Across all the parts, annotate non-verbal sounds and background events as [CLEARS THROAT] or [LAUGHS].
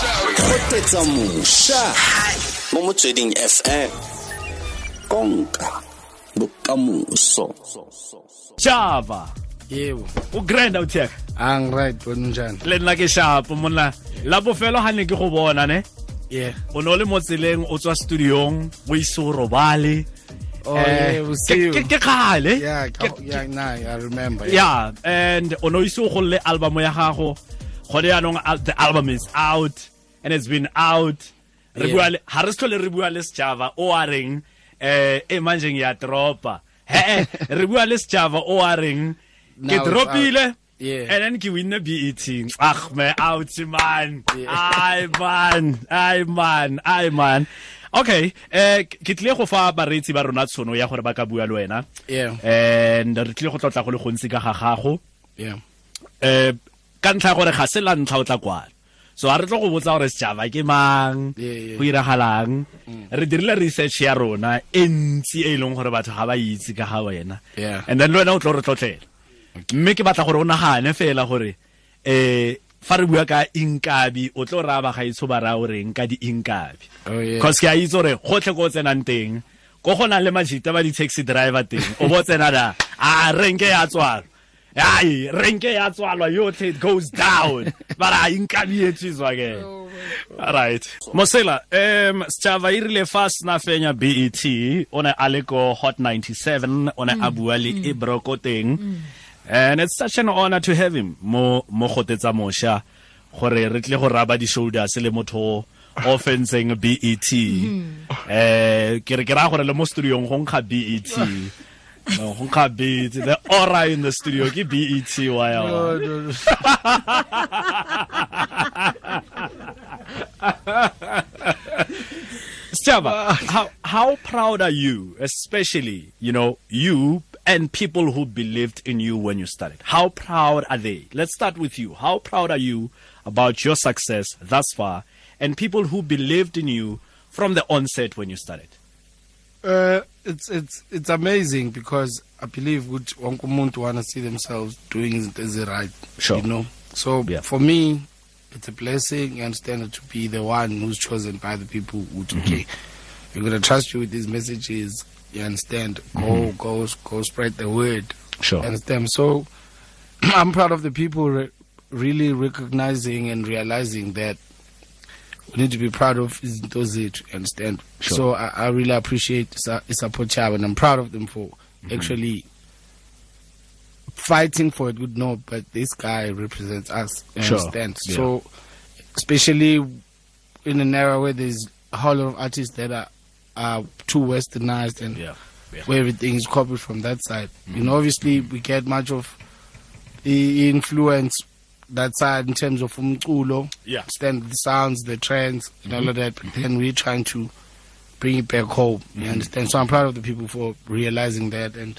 kgopetsa moša mo motsweding fm konka bokamoso shava yebo ugranda utheka ang right wena unjani le nna ke shapo monna la bofelo ga ne ke go bona ne yeah o ne o le mo tseleng o tswa studiong o ise o robale oh Eh, yeah ke- ke usiu ke kgale yeah ka- Ke- yeah nah, i remember yeah and o ne o ise o golle album ya gago gone yaanong al- the album is out and it's been out Re Yeah. bua le- ga re se tlhole re bua le setšhaba o a reng um e manjeng ya tropa hee re bua le setšhaba o a reng ke Now it's dropile out. Yeah. and then ke winne bet ach me out man ai man ai man ai man okay eh ke tlile go fa bareetsi ba rona tshono ya gore ba ka bua le wena Yeah. and Ehm, re tlile go tlotla go le gontsi ka ga gago yeah eh ka ntlha ya gore ga se la ntlha o tla kwano so ha re tlo go botsa gore sejava ke mang Yeah, yeah. go iragalang re dirile research ya rona e ntsi e e leng gore batho ga ba itse ka ga wena Yeah. and then le wena o tlo re tlotlela mme ke batla gore o nagane fela gore eh fa re bua ka inkabi o tlo raya bagaetsho ba raya o reng ka di-inkabi oh yeah cause ke a itse gore gotlhe ko o tsenang teng ko go nang le majita ba di-taxi driver teng o bo o tsena da a renke ya tswalwa ai renke ya tswalwa yotlhe it goes down bara a inkabietsiswa ke right mosela um setšhaba e rile fa sena fenya bet o ne a le ko hot 97 o ne a bua le e broko teng and it's such an honor to have him mo mo gotetsa mosha gore re tle go raba di-shoulders le motho o fenceng bet eh ke re ke raya gore le mo studiong go nkga bet No, go nkga bet the aura in the studio ke E bet wa yawa No, no, no. Stava, how, how proud are you, especially, you know, you and people who believed in you when you started? How proud are they? Let's start with you. How proud are you about your success thus far and people who believed in you from the onset when you started? Uh, it's it's it's amazing because I believe would wonke umuntu wanna see themselves doing it as a right. Sure. You know. So Yeah. for me, it's a blessing and standard to be the one who's chosen by the people who took it. We're gonna trust you with these messages. You understand? Go go go spread the word. Sure. Understand? So [CLEARS THROAT] I'm proud of the people re- really recognizing and realizing that we need to be proud of is those it understand Sure. so I, I really appreciate su- support Chab and I'm proud of them for Mm-hmm. actually fighting for it would know but this guy represents us you Sure. understand Yeah. so especially in an era where there's a whole lot of artists that are are too westernized and where everything is copied from that side. You know, obviously we get much of the influence that side in terms of umculo, Yeah. Mm-hmm. stand the sounds, the trends, and all of that. But then we're trying to bring it back home. You understand? So I'm proud of the people for realizing that and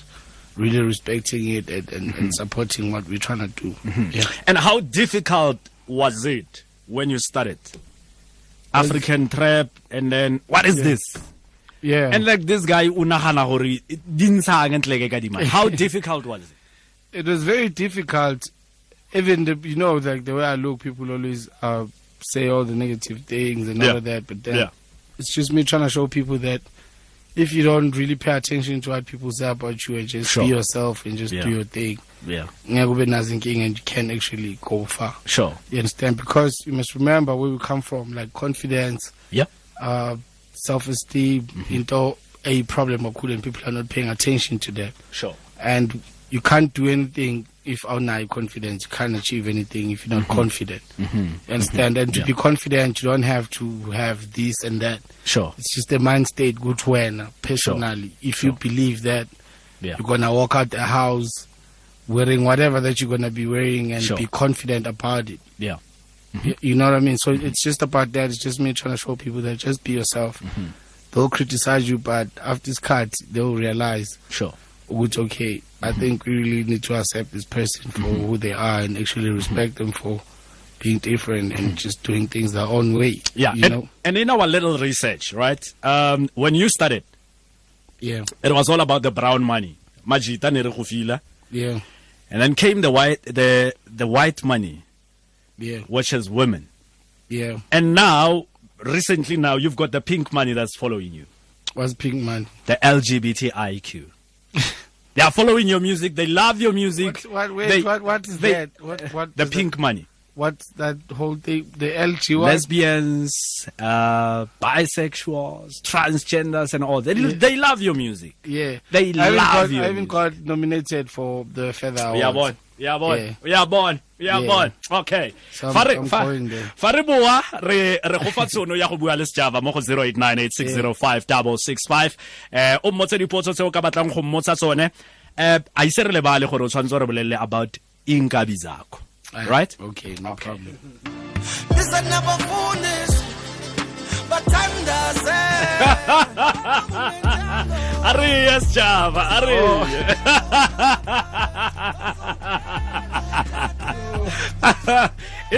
really respecting it and, and, Mm-hmm. and supporting what we're trying to do. Yeah. And how difficult was it when you started? African trap, and then what is this? Yeah. And like this guy, unahana hori, dinsa agentleke kadima. [LAUGHS] How difficult was it? it was very difficult. Even the you know like the way I look, people always uh, say all the negative things and Yeah. all of that. But then Yeah. it's just me trying to show people that if you don't really pay attention to what people say about you and just Sure. be yourself and just Yeah. do your thing, Yeah, ngeke ube nazo inkinga and you can actually go far. sure. You understand? Because you must remember where we come from, like confidence, Yep. uh, self-esteem, Mm-hmm. into a problem occurring and people are not paying attention to that Sure. and you can't do anything if you're not confident. You can't achieve anything if you're not Mm-hmm. confident. You understand? And to be confident, you don't have to have this and that. Sure. It's just a mind state. Good when personally, if you believe that Yeah. you're gonna walk out the house wearing whatever that you're gonna be wearing and Sure. be confident about it. Yeah. Mm-hmm. You, you know what I mean? So it's just about that. It's just me trying to show people that just be yourself. Mm-hmm. They'll criticize you, but after this cut, they'll realize Sure. which okay i Mm-hmm. think we really need to accept this person for who they are and actually Mm-hmm. respect them for being different and just doing things their own way Yeah. you and, know and in our little research, right? Um, when you started, yeah it was all about the brown money. Majita ne re go fila. yeah And then came the white the the white money, yeah which is women. Yeah. And now, recently now, you've got the pink money that's following you, What's pink man? the [LAUGHS] LGBTIQ. they are following your music. They love your music. What, what, wait, They- what, what is they- that? What, what The is pink money. That, what's that whole thing? The LG one? Lesbians, uh, bisexuals, transgenders, and all. They, they love your music. yeah. They I haven't love got, you. I haven't got nominated for the Feather Awards. We are born. We are born. Yeah. We are born. We are Yeah. born. Okay. So I'm- Fa re- I'm fa- going there. fa re boa re re go fa tsono ya go bua le sejava mo go 0898605665 eh o mmotse dipotso tse o ka batlang go mmotsa tsone eh a ise re lebale gore o tshwanetse o re bolelle about inkabi zakho Ah, right Okay, no problem. a re ye sejava a re ye.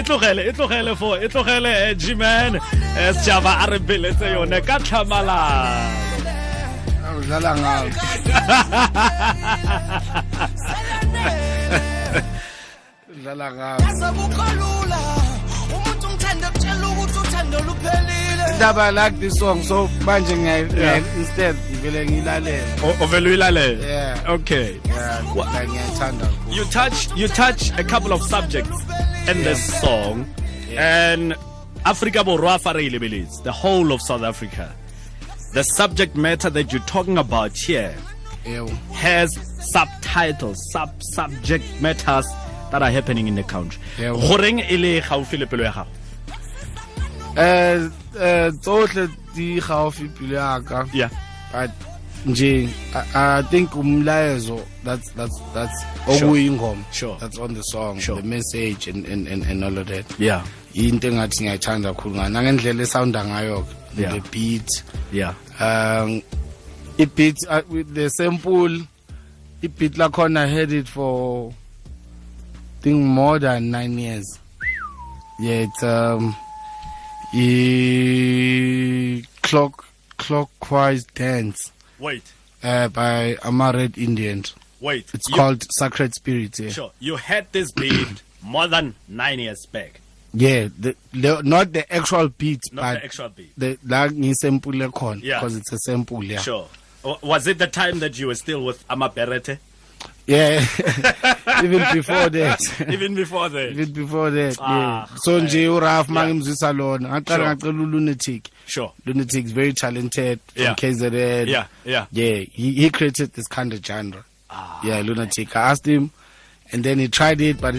[LAUGHS] e tlogele e tlogele fo e tlogele eh, g-man eh, sejava a re beletse yone ka tlhamalang I'll dlala ngayo. Dlala ngayo. asebukalula umuntu ngithanda kutshela ukuthi uthando luphelile Indaba I like this song so manje ngiya Yeah. ngiya- instead ngivele ngilalele. O- ovele uyilalele Yeah. okay Yeah, like ngiyayithanda. kakhulu. you touch you touch a couple of subjects in this song and africa borwa fa re e lebeletse, the whole of south africa the subject matter that you're talking about here Yebo. has subtitles sub subject matters that are happening in the country Yeah. goreng e le gaufi le pelo ya gago Eh eh tsohle di gaufi pilo ya ka. yeah but nje I, I think umlayezo that's that's that's okuyingoma Sure. that's on the song Sure. the message and, and, and, and all of that yeah into engathi ngiyayithanda kakhulu ngayo nangendlela esounda ngayo ke Yeah. the beat yeah um i-beat uh, with the sample i-beat lakhona I had it for I think more than nine years yeah it's um i clock clockwise dance wait uh, by Amared Indians. wait It's You- called Sacred Spirit. Yeah, sure you had this beat more than nine years back yeah the, the, not the actual beat, not but the actual beat the like ni sample because Yeah. it's a sample. Yeah, Sure. W- Was it the time that you were still with Amaperete? [LAUGHS] yeah. Even before that. [LAUGHS] Even before that? Even before that, Ah, yeah. So nje uraf mangimzisa lona. Sure. Ngaqala ngacela lunatic. Sure. Lunatic is very talented from Yeah. KZN. Yeah, yeah. Ah. Yeah, he, he created this kind of genre. yeah, lunatic. I asked him, and then he tried it, but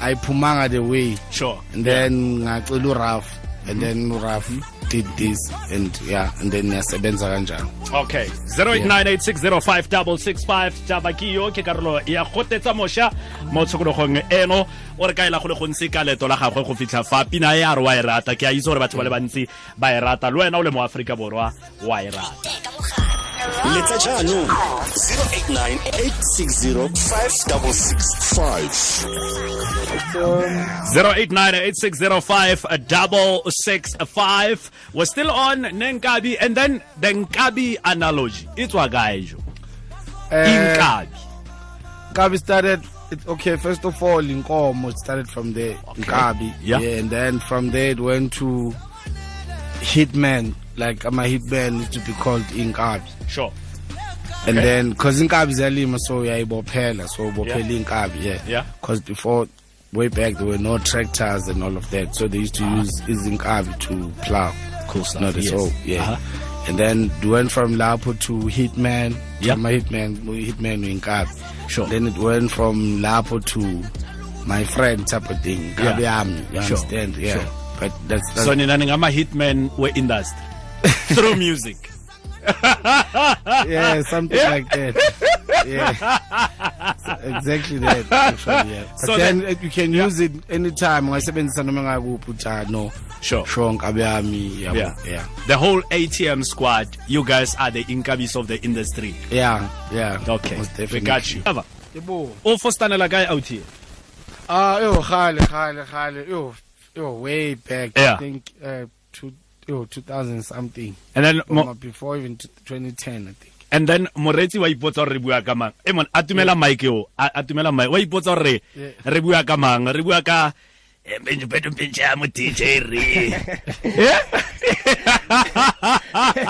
I pumanga the way. Sure. and then ngacela uraf and then uraf did this and yeah and then yasebenza kanjalo Okay. 0898605665 Tabakio ke karolo ya gotetsa mosha mo tshokologong eno o re kaela go le gontsi ka leto la gagwe go fitlha fa pina e a re wa e rata ke a itse gore batho ba le bantsi ba e rata le wena o le mo Afrika borwa wa e rata letsa jaanong 089 860 5665 0898605665 we're still on nenkabi and then the nkabi analogy E it's wagaijo Eh. inkabi Nkabi started it, okay first of all inkomo it started from there Nkabi Yeah. and then from there it went to hitman like I'm a hitman used to be called Inkabi sure and Okay. then cause Inkabi zalima so uyayibophela so ubophela Inkabi yeah Yeah. cause before way back there were no tractors and all of that so they used to use izinkabi to plow Ah. Cool stuff, not yes. yes. yeah Uh-huh. and then we went from Lapo to Hitman Yeah. my Hitman we- Hitman in Kabi Sure. then it went from Lapo to my friend type of thing Yeah. Kabi Army you Sure. understand yeah Sure. but that's, that's so nina ningama hitman we industry through music yeah something like that yeah [LAUGHS] exactly that actually, yeah. but So then that- uh, you can use it anytime ungayisebenzisa noma ngakuphi uthano Sure. sure Nkabi Army yabo, yeah yeah the whole atm squad you guys are the inkabis of the industry yeah yeah okay most we definitely. got you Ava, Yebo. o fostanela guy out here Ah, yo, khale, khale, khale. Yo, yo, way back. Yeah. I think uh, two, yo, 2000 something. and then Or mo- before even t- 2010, I think. and then moreetsi wa ipotsa gore re bua ka mang Eh, e mon atumela mike o atumela mike wa ipotsa gore re- Yeah. re bua ka eh, mang re bua ka mpenje mpenje mpenje ya mo DJ [LAUGHS] re Eh?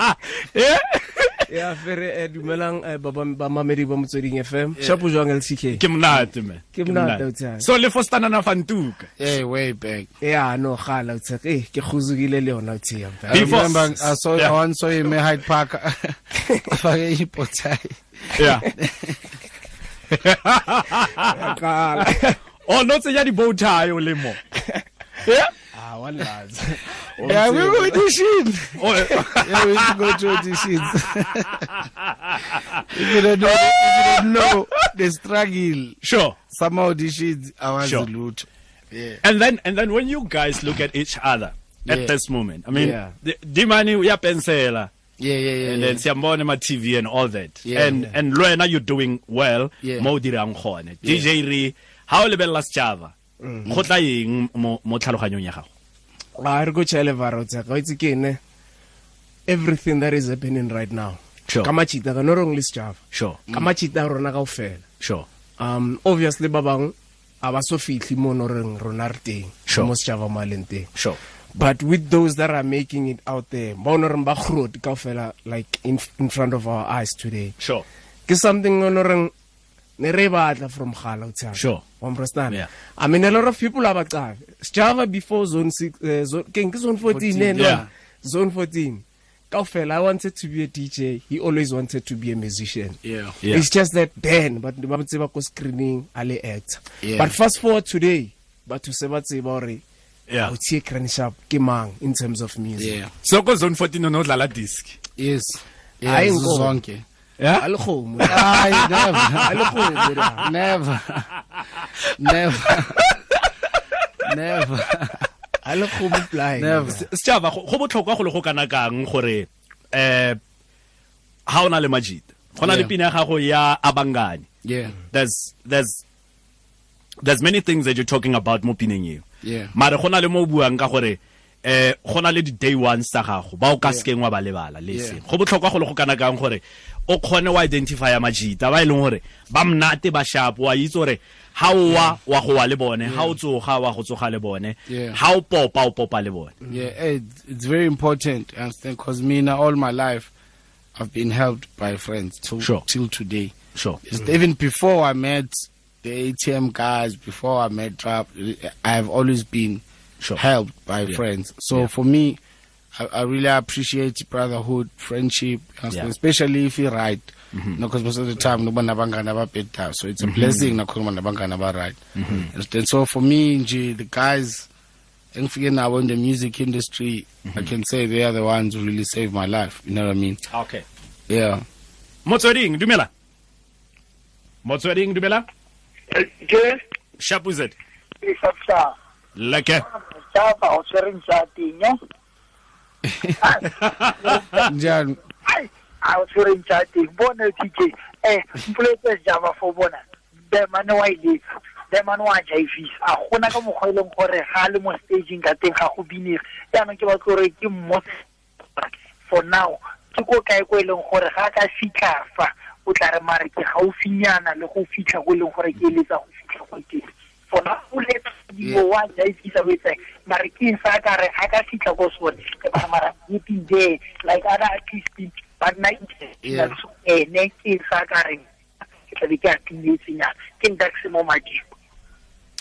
[LAUGHS] [LAUGHS] ya fere eh, dumelang eh, ba ba mamedi ba motsweding fm shapo jwang lck ke monate man Ke monate, o tsaya. so le for standana fantuka Hey, way back. ya no gala o tshek eh ke khuzugile le yona o tshiya I Before- remember I saw Yeah. I once saw him at Hyde Park. [LAUGHS] Fucking hippotai. yeah Ah. kala o no tsenya di-bow tie o le mo ah one lads Yeah, we go to shit. O- Yeah, we used to go to auditions. if you don't know, if you don't know the struggle, sure some auditions I was Sure. sure. loot. Yeah. and then and then when you guys look at each other at Yeah. this moment i mean Yeah. the- dimani uyapensela Yeah, yeah, yeah. and yeah. then siyambona ma TV and all that Yeah. and and lwena you're doing well Yeah. mo o dirang gone DJ re ha o lebella setjhaba go tla eng mo mo tlhaloganyong ya gago ah re go tshele ba ro tshek o itse ke ne everything that is happening right now Sure. ka machita ka no wrong list java sure ka machita a rona ka ofela sure um obviously ba bang a ba so fitlhi mo no reng rona re teng Sure. mo setjhaba mo a leng teng sure but with those that are making it out there ba ono reng ba kgorodi kaofela like in, in front of our eyes today sure ke something ono reng ne re e batla from gala o tshaba Sure. Wa understand Yeah. i mean a lot of people are bacabe setjhaba before zone six uh, zone, ke eng? Ke zone 14 ne, no? Yeah. zone 14 kaofela i wanted to be a dj he always wanted to be a musician yeah. Yeah. it's just that then but ba ba tseba ko screening a le actor Yeah. but fast forward today batho se ba tseba hore yeah o tsie Cranny Sharp ke mang in terms of music Yeah. so ko zone 14 o ne o dlala disc Yes. I Yes. ain't go. Zonke. a le kgomo a le I kgomo da. never. never. [LAUGHS] never. never. a le kgomo blind Never. setjhaba go go botlhokwa go le go kana kang gore eh ha ona le majita gona le Yeah. pina ya gago ya abangani Yeah. there's there's there's many things that you're talking about mo pineng eo Yeah. mare go na le mo o buang ka gore eh go na le di-day ones tsa gago ba o ka sekeng wa ba lebala le Yeah. seng go botlhokwa go le go kana kang gore o kgone wa identifya majita ba e leng gore ba mnate ba shapo wa itse gore ha o wa wa go wa le bone ha o tsoga wa go tsoga le bone Mm. Yeah. ha o popa o popa le bone Mm-hmm. Yeah, it, it's very important, I understand, because me now all my life I've been helped by friends till, Sure. till today. sure Just Even before I met the ATM guys, before I met Trap, I have always been Sure. helped by Yeah. friends. So Yeah. for me, I, I really appreciate brotherhood, friendship, I understand, Yeah. especially if you're right. Because most of the time, no one better. So it's a blessing. No one right. And so for me, nje, the guys, engifike nabo in the music industry i can say they are the ones who really saved my life you know what i mean okay yeah motsweding dumela motsweding dumela ke shapuzet ke sapsa leke sa fa o tshwereng sa teng eh? njani ai a o tshwereng sa teng bona tk eh polete java for bona the man wa ile the man wa jaifisa a gona ka mokgwa e leng gore ga a le mo staging ka teng ga go binege jaanong ke batlo gore ke mmo for now ke ko kae ko e leng gore ga a ka fitlha fa o tla re mare ke gaufinyana le go fitlha ko e leng gore ke eletsa go fitlha go teng for now o letsa Yeah. dio wa e jaifisa wetseng mare ke eng sa ka re ga a ka fitlha ko sone ke bara mara getting there like other artists but night Yeah. ene ke eng sa ka reng ke tlabe ke atinyetsinyana ke ntaxe mo madimo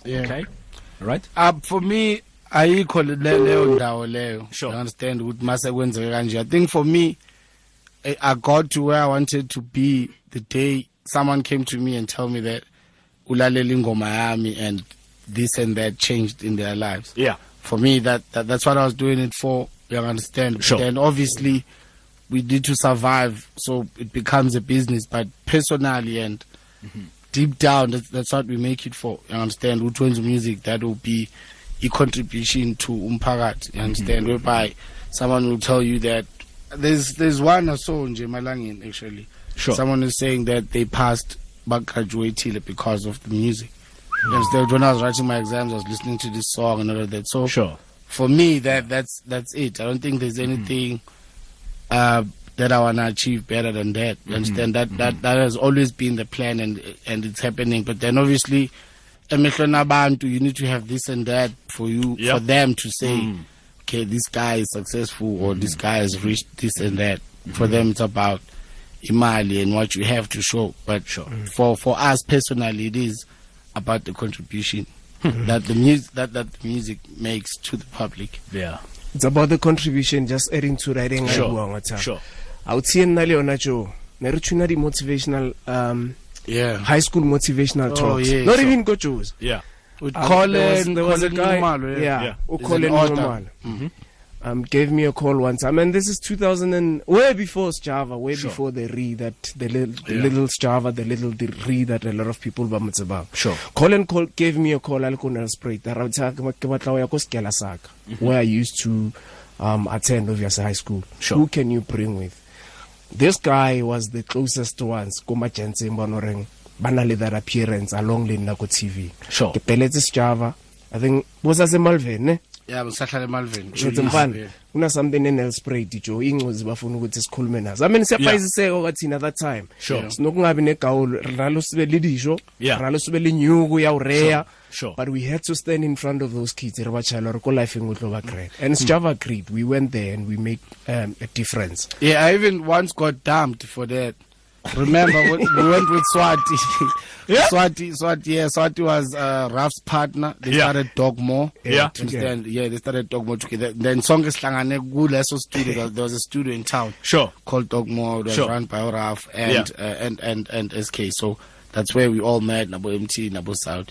yeah okay. right uh, for me ayikho le- le- leyo ndawo leyo Sure. you understand ukuthi mase kwenzeke kanje i think for me I, i got to where i wanted to be the day someone came to me and tell me that ulalela ingoma yami and this and that changed in their lives yeah for me that, that that's what I was doing it for. You understand? Sure. And obviously, we need to survive, so it becomes a business. But personally and deep down, that's, that's what we make it for. You understand? Who twins music that will be a contribution to Umpagat. You understand? Whereby someone will tell you that there's there's one or so in Jemalangin actually. Sure. Someone is saying that they passed but graduated because of the music. You understand? When I was writing my exams, I was listening to this song and all of that. So Sure. Mm-hmm. for me, that that's that's it. I don't think there's anything uh, that I wanna achieve better than that. Mm-hmm. You understand? That that that has always been the plan, and and it's happening. But then obviously, emehlweni abantu you need to have this and that for you Yep. for them to say Mm. okay this guy is successful or this guy has reached this and that for Mm-hmm. them it's about imali and what you have to show but for for us personally it is about the contribution Mm-hmm. that the music that, that the music makes to the public yeah it's about the contribution just adding to writing Sure, a buang whatsapp sure. a o tsie nna le yona jo ne re tuna di-motivational um yeah high school motivational Oh, talks yeah, not sure. even go jos yeah with Um, there was- Colin, there was a Colin guy- Khumalo, yeah. yeah, Yeah. He's Colin an author. Khumalo. Um, gave me a call once. I mean, this is 2000 and way before Java, way before the re that the little, the Yeah. little Java, the little the re that a lot of people were about. Sure. Colin call, gave me a call. I'll go spray. Where I used to um, attend obviously high school. Sure. Who can you bring with? This guy was the closest ones. Koma Jensen Bonoreng. Banale that appearance along the Nako TV. Sure. Ke peletse Java. I think was as a Malvin, ne? yeah but Sahlale Malvin shotse mfana una something enelspraid jo ingcozi bafuna ukuthi sikhulume nazo i mean Yeah. siyaphayisiseko kathina that time Sure. sinokungabi negawulo rinalo sibe lidisho Yeah. rinalo sibe linyuku yawureya Sure, sure. but we had to stand in front of those kids re ba chayela gore ko lifeng o e tlo ba grad and sjava agreed we went there and we made um, a difference Yeah, I even once got dumped for that. Remember, when we went with Swati. [LAUGHS] Yeah? Swati, Swati, yeah, Swati was uh, Raf's partner. They Yeah. started Dogmo. Yeah. You understand? Yeah, they started Dogmo together. Then Song is Langane Guleso studio. There- There was a studio in town sure called Dogmo. It was Sure. run by Raf and, Yeah. uh, and, and, and SK. So that's where we all met, Nabo MT, Nabo South.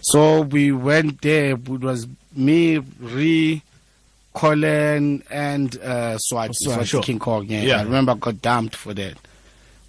So we went there. It was me, Re, Colin, and uh, Swati. Swati, Swati Oh, sure. King Kong, yeah. Yeah. I remember I got dumped for that.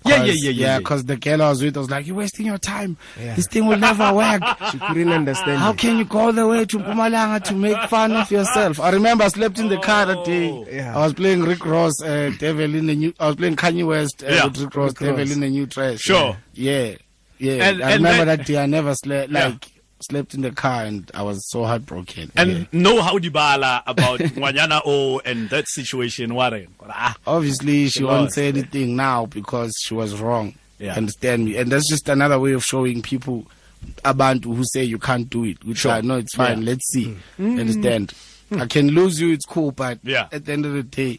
Yeah, yeah, 'Cause- yeah, yeah, Yeah, yeah. because the girl I was with was like, You're wasting your time. Yeah. This thing will [LAUGHS] never work. she couldn't understand How it. can you go all the way to Pumalanga to make fun of yourself? I remember I slept in the car that Oh. day. Yeah. I was playing Rick Ross, uh, Devil in the New. I was playing Kanye West uh, Yeah. with Rick Ross, Rick Ross. Devil in the New Dress. Sure. Yeah, yeah. And- I and remember then- that day I never slept. Yeah. Like slept in the car and I was so heartbroken. and Yeah. know how dibala [LAUGHS] about Wanyana O and that situation Warren ah obviously she Lord. won't say anything now because she was wrong. Yeah. Understand me? And that's just another way of showing people about who say you can't do it. Which Sure. I know it's fine. Yeah. Mm. Let's see. Understand? I can lose you, it's cool, but Yeah. at the end of the day,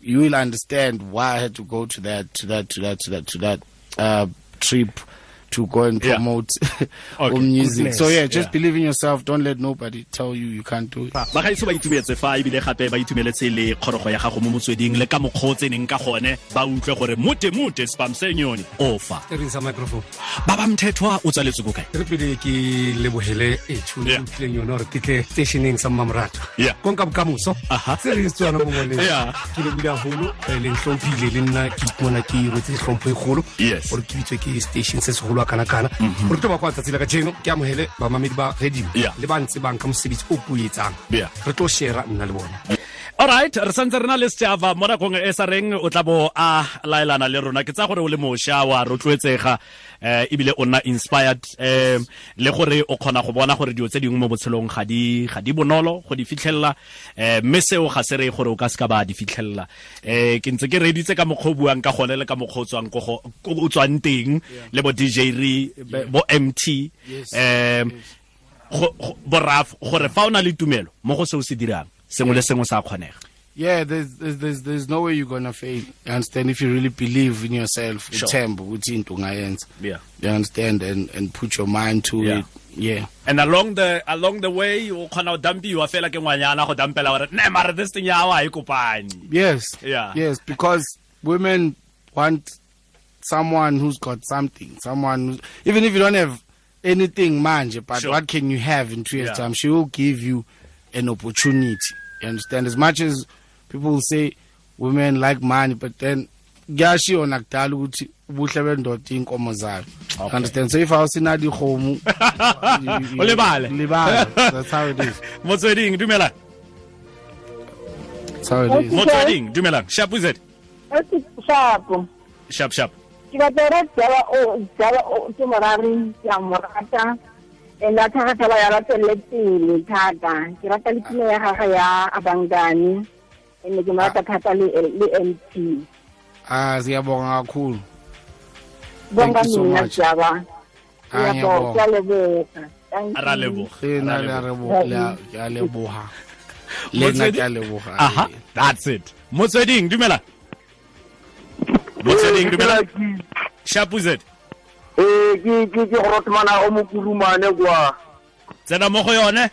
you will understand why I had to go to that, to that, to that, to that, to that uh, trip to go and Yeah. promote [LAUGHS] Okay. home music. So Goodness. yeah, just Yeah. believe in yourself. Don't let nobody tell you you can't do it. bagaetsho ba itumetse fa ebile gape ba itumeletse le kgorogo ya gago mo motsweding le ka mokgwa o tseneng ka gone ba utlwe gore motemute spamsenyone ofa sa microphone ba ba mthethwa o tswaletswe ko kae re pele ke e, lebogele etšhono Yeah. mphileng yona gore ke tle stationeng sa mmamorato Yeah. konka bokamoso Aha. se re tswana mo ngwaleng Yeah. ke lebile golo le ntlhomphile le nna ke ipona ke rwetse tlhompho e golo Yes. Mm-hmm. gore ke bitswe ke station se segolo a kana-kana gore tlo ba kwa tsatsi la ka jeno ke amogele bamamedi ba radio Yeah. le ba ntse bang ka mosebetsi o poetsang Yeah. re tlo shera nna le bona alright re santse re na le setšhaba mo nakong e sa reng o tla bo a laelana le rona ke tsa gore o le mošwa wa rotloetsega um ebile o nna inspired um le gore o kgona go bona gore dio tse dingwe mo botshelong ga di ga di bonolo go di fitlhelela um mme seo ga se reye gore o ka se ka ba di fitlhelela um ke ntse ke reditse ka mokgwa o buang ka gone le ka mokgwa o tswang ko go- ko o tswang teng le bo dj re bo mt um go- go- boraf gore fa o na le tumelo mo go se o se dirang sengwe le sengwe sa kgonega Yeah, there's, there's there's there's no way you're gonna fail. You understand if you really believe in yourself, Sure. tempo, ungayenza. Yeah. You understand and and put your mind to Yeah. it. Yeah. and along the along the way o kgona go dampiwa fela ke ngwanyana go dampela gore ne mare this thing ya wa e [LAUGHS] kopane Yes. Yeah. Yes, because women want someone who's got something, someone who's, even if you don't have anything, manje, but Sure. what can you have in two years' Yeah. time? She will give you an opportunity. You understand? As much as people will say women like money, but then gashi on ukuthi ubuhle bendoda inkomo zayo You understand so if i was in [LAUGHS] adi home Ulibale. [LAUGHS] that's how it is motsweding dumelang that's how it [LAUGHS] is motsweding dumelang sharp is it Oti shapo. sharp sharp Ke batla re jaba o jaba o ke morari ya morata. And a thata ba ya latelle pele thata. Ke rata le pina ya gagwe ya abangani. And ke morata thata le le MP. ah siyabonga kakhulu Bonga Thank you so mina much. jaba. Ah, Ya go ngiyabonga. tla le bo. Thank ra you. leboga Eh, na le a rebo- le a- ke a leboga le nna ke a leboga aha eh. that's it motsweding dumela motsweding dumela shapuzet Eh, ke ke ke gorotmana o mokurumane kwa tsena mo go yone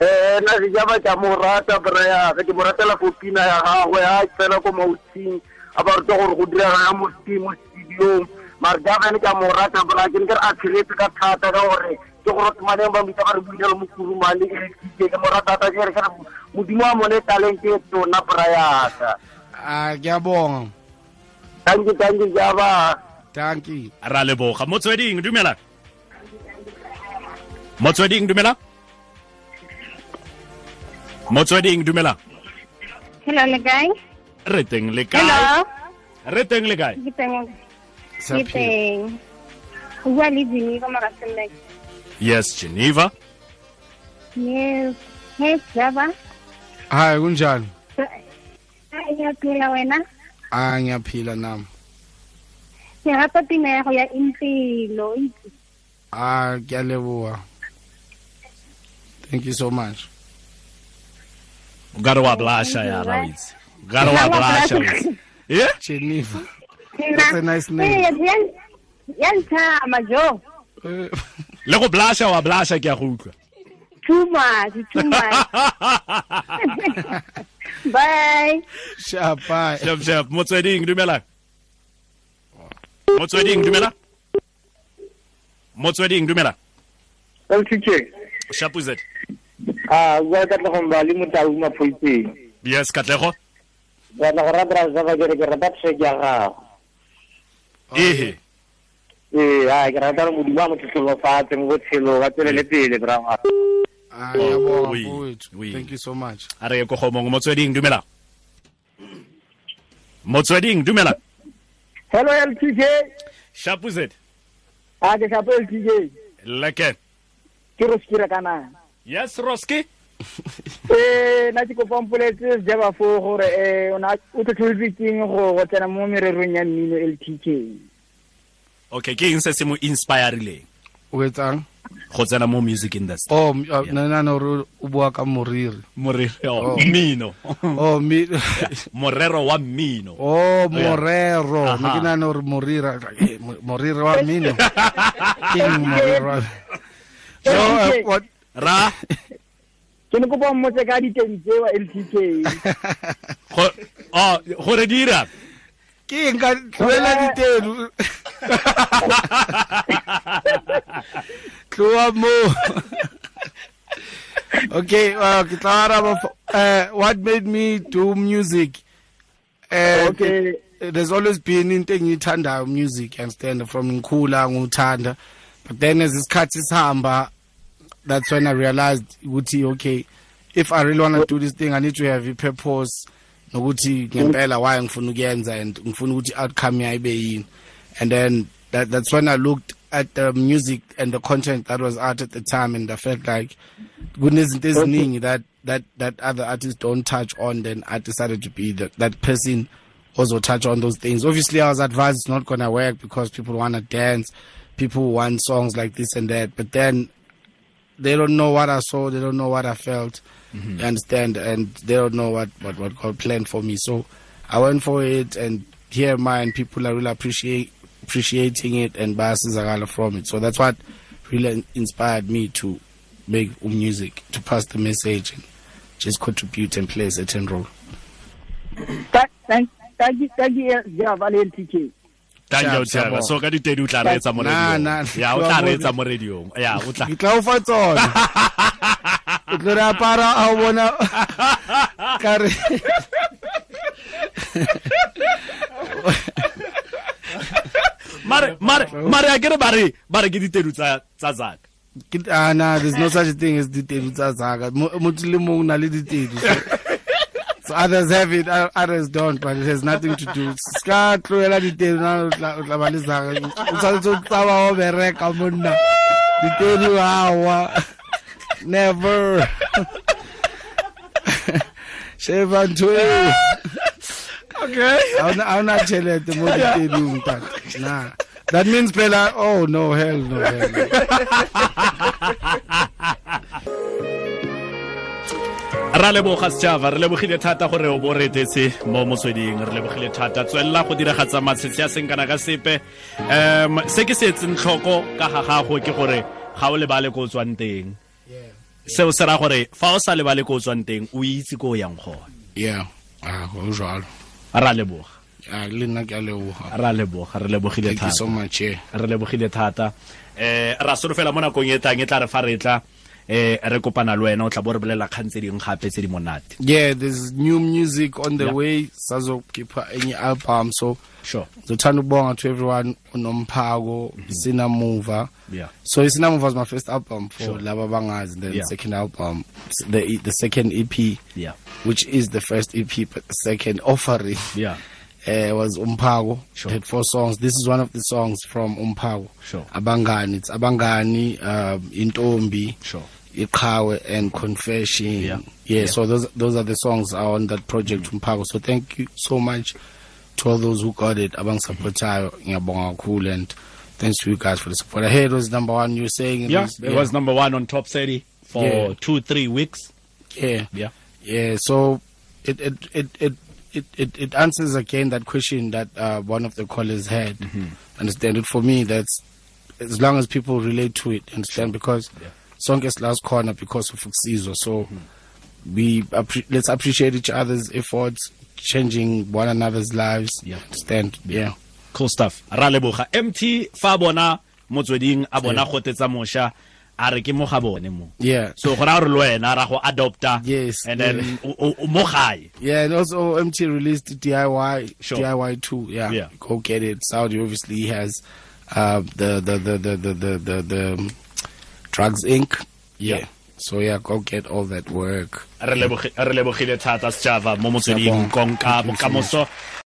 eh na se jaba ka mo rata braya ke mo ratela go pina ya gagwe a tsena ko mautsing a ba rata gore go dira ga mo timo studio mara jaba ne ka mo rata kan bra ke ne ke re a tshiretse ka thata ka gore ke gorotmane ba mita ba re buile mo kurumane e ke ke mo rata ta ke re ke re modimo a mone talent e tona braya ka Ah, ke a bonga thank you thank you jaba thank you ra leboga motsweding dumela motsweding dumela motsweding dumela Hello, le kae? re teng le kae Hello. re teng le kae Ke teng. Sa Ke phela. teng. O bua le Jimmy ka Maratlheng. yes geneva Yes. Hey, Java. hi kunjani Ai, ya phela wena. a ngiyaphila nami Ke rata pina ya go ya impilo. itse. a ke a leboga thank you so much o ka re wa blasha yara o itse o ka re wa Nna wa blasha o blush. itse Eh? jennifer [LAUGHS] Nna- a nice name. Eh, ya- Ya ntshama jo. Eh, le go blasha wa blasha ke a go utlwa Too much, too [LAUGHS] much. Bye. sharp bye shep shep motsweding dumela motsweding dumela motsweding dumela LTK shapuzet ah wa ka tla go mbali mo taung ma poitseng yes katlego bana go ratara zaba ke re ke rata track ya gago ehe ee a ke rata re modimo a motlhotlholo fatshe mo botshelo ba tswelele pele brama Ah, ngiyabonga Oui, mfowethu oui. thank you so much a re ye ko gomong motsweding dumela motsweding dumela hello ltk shapuzet a ke sapo ltk leke ke roskira kanang yes roski ee nna ke kopampoletse sejaba foo gore um o tlhotlholotse keng go go tsena mo mererong ya mmino ltk okay ke eng se se mo inspirileng o etsang go tsena mo music industry o nanane gore o bua ka moriri Oh, morero mmino o mi- morero wa mmino o morero ne Aha. ke nane gore moriri a- eh, mo- moriri wa mmino ke eng moriri wa so eh, what ra ke ne kopa mmotse ka diteng tsewa ltk go- oh, gore di irang ke eng ka tlohela [LAUGHS] ditelo tloa moo okay uh, ke tla araba fo- eh, what made me do music Eh, Okay. eh, there's always been into engiyithandayo music understand from ngikhula ngiwuthanda but then as isikhathi sihamba that's when i realized ukuthi okay if i really want to do this thing i need to have a purpose nokuthi ngempela why ngifuna ukuyenza and ngifuna ukuthi outcome yayo ibe yini and then that, that's when i looked at the music and the content that was out at the time and i felt like kunezinto eziningi that that that other artists don't touch on then i decided to be the, that person also touch on those things obviously i was advised it's not gonna work because people want to dance people want songs like this and that but then they don't know what I saw, they don't know what I felt, you understand, and they don't know what, what, what God planned for me. So I went for it, and here am I, and people are really appreciate, appreciating it and biases are from it. So that's what really inspired me to make um music, to pass the message, and just contribute and play a certain role. ka ke sejaba le ltk tanke o Sharp, tshaba sharp. so ka ditedu o tla reetsa mo Nah, radiong nah, ya o tloha tla moo. reetsa mo radiong ya o tla Ke tla o fa tsona. O tlo re apara a o bona ka re- mare mare mare a kere bare bare ke ditedu tsa tsa zaka Ke- ah, nah, there's no such a thing as ditedu tsa zaka Mo- motho le mong o na le ditedu so- so others have it o- others don't but it has nothing to do se ka tloela ditedu na o tla o tla ba le zaka o tshwanetse o tsaba o bereka monna ditedu awa never sheva ntho eo okay ha ona tšhelete mo ditedung tate na That means Pela. Oh no, hell no. Hell no. ra leboga setšhaba re lebogile thata gore o bo retetse mo motsweding re lebogile thata tswelela go diragatsa matshetse a seng kana ka sepe um se ke se etseng tlhoko ka ga gago ke gore ga o lebale ko o tswang teng seo se ra gore fa o sa lebale ko o tswang teng o itse ko o yang gone Yeah. Ah, go jalo. ra leboga Ah, le nna ke a leboga. ra leboga re lebogile Thank you so thata much. Yeah. re lebogile thata eh ra solofela mo nakong e tlang e tla re fa re tla eh re kopana le wena o tla bo re bolela kgang tse dingwe gape tse di monate Yeah, there's new music on the Yeah. way. Sazokhipha enye album so sure Mm-hmm. ngizothanda ukubonga to everyone unomphako sinamuva yeah so isinamuva is my first album for Sure. laba bangazi the Yeah. second album the the second EP yeah which is the first EP but the second offering yeah uh, was Umpago. Sure. Had four songs. This is one of the songs from Umpago. Sure. Abangani. It's Abangani, um, Intombi, sure Ikawe, and Confession. Yeah. Yeah. Mm-hmm. So those those are the songs are on that project Umpago. So thank you so much to all those who got it. Abang Mm-hmm. Sapotayo, Ngiyabonga Cool, and thanks to you guys for the support. I heard it was number one. You were saying it Yeah, was- it was number one on top 30 for Yeah. two, three weeks. yeah. Yeah. Yeah, so it it it it it, it, it answers again that question that uh, one of the callers had. Mm-hmm. Understand it for me. That's as long as people relate to it. Understand because song is last corner because of Caesar. So Mm-hmm. we appre- let's appreciate each other's efforts, changing one another's lives. Yeah. Understand? yeah. Cool stuff. Ra leboga. MT fa bona motsweding a bona gotetsa mosha a re ke mo ga bone mo. Yeah. So go raya gore le wena ra go adopta Yes, and yeah. then o- o- o mo gae. Yeah, and also MT released DIY Sure. DIY two. Yeah. Yeah. go get it. Saudi obviously has uh, the, the, the, the, the the the the um, Drugs Inc. Yeah. Yeah. so yeah, go get all that work. Re lebogi- re lebogile thata setšhaba mo motsweding Setšhaba. konka bokamoso.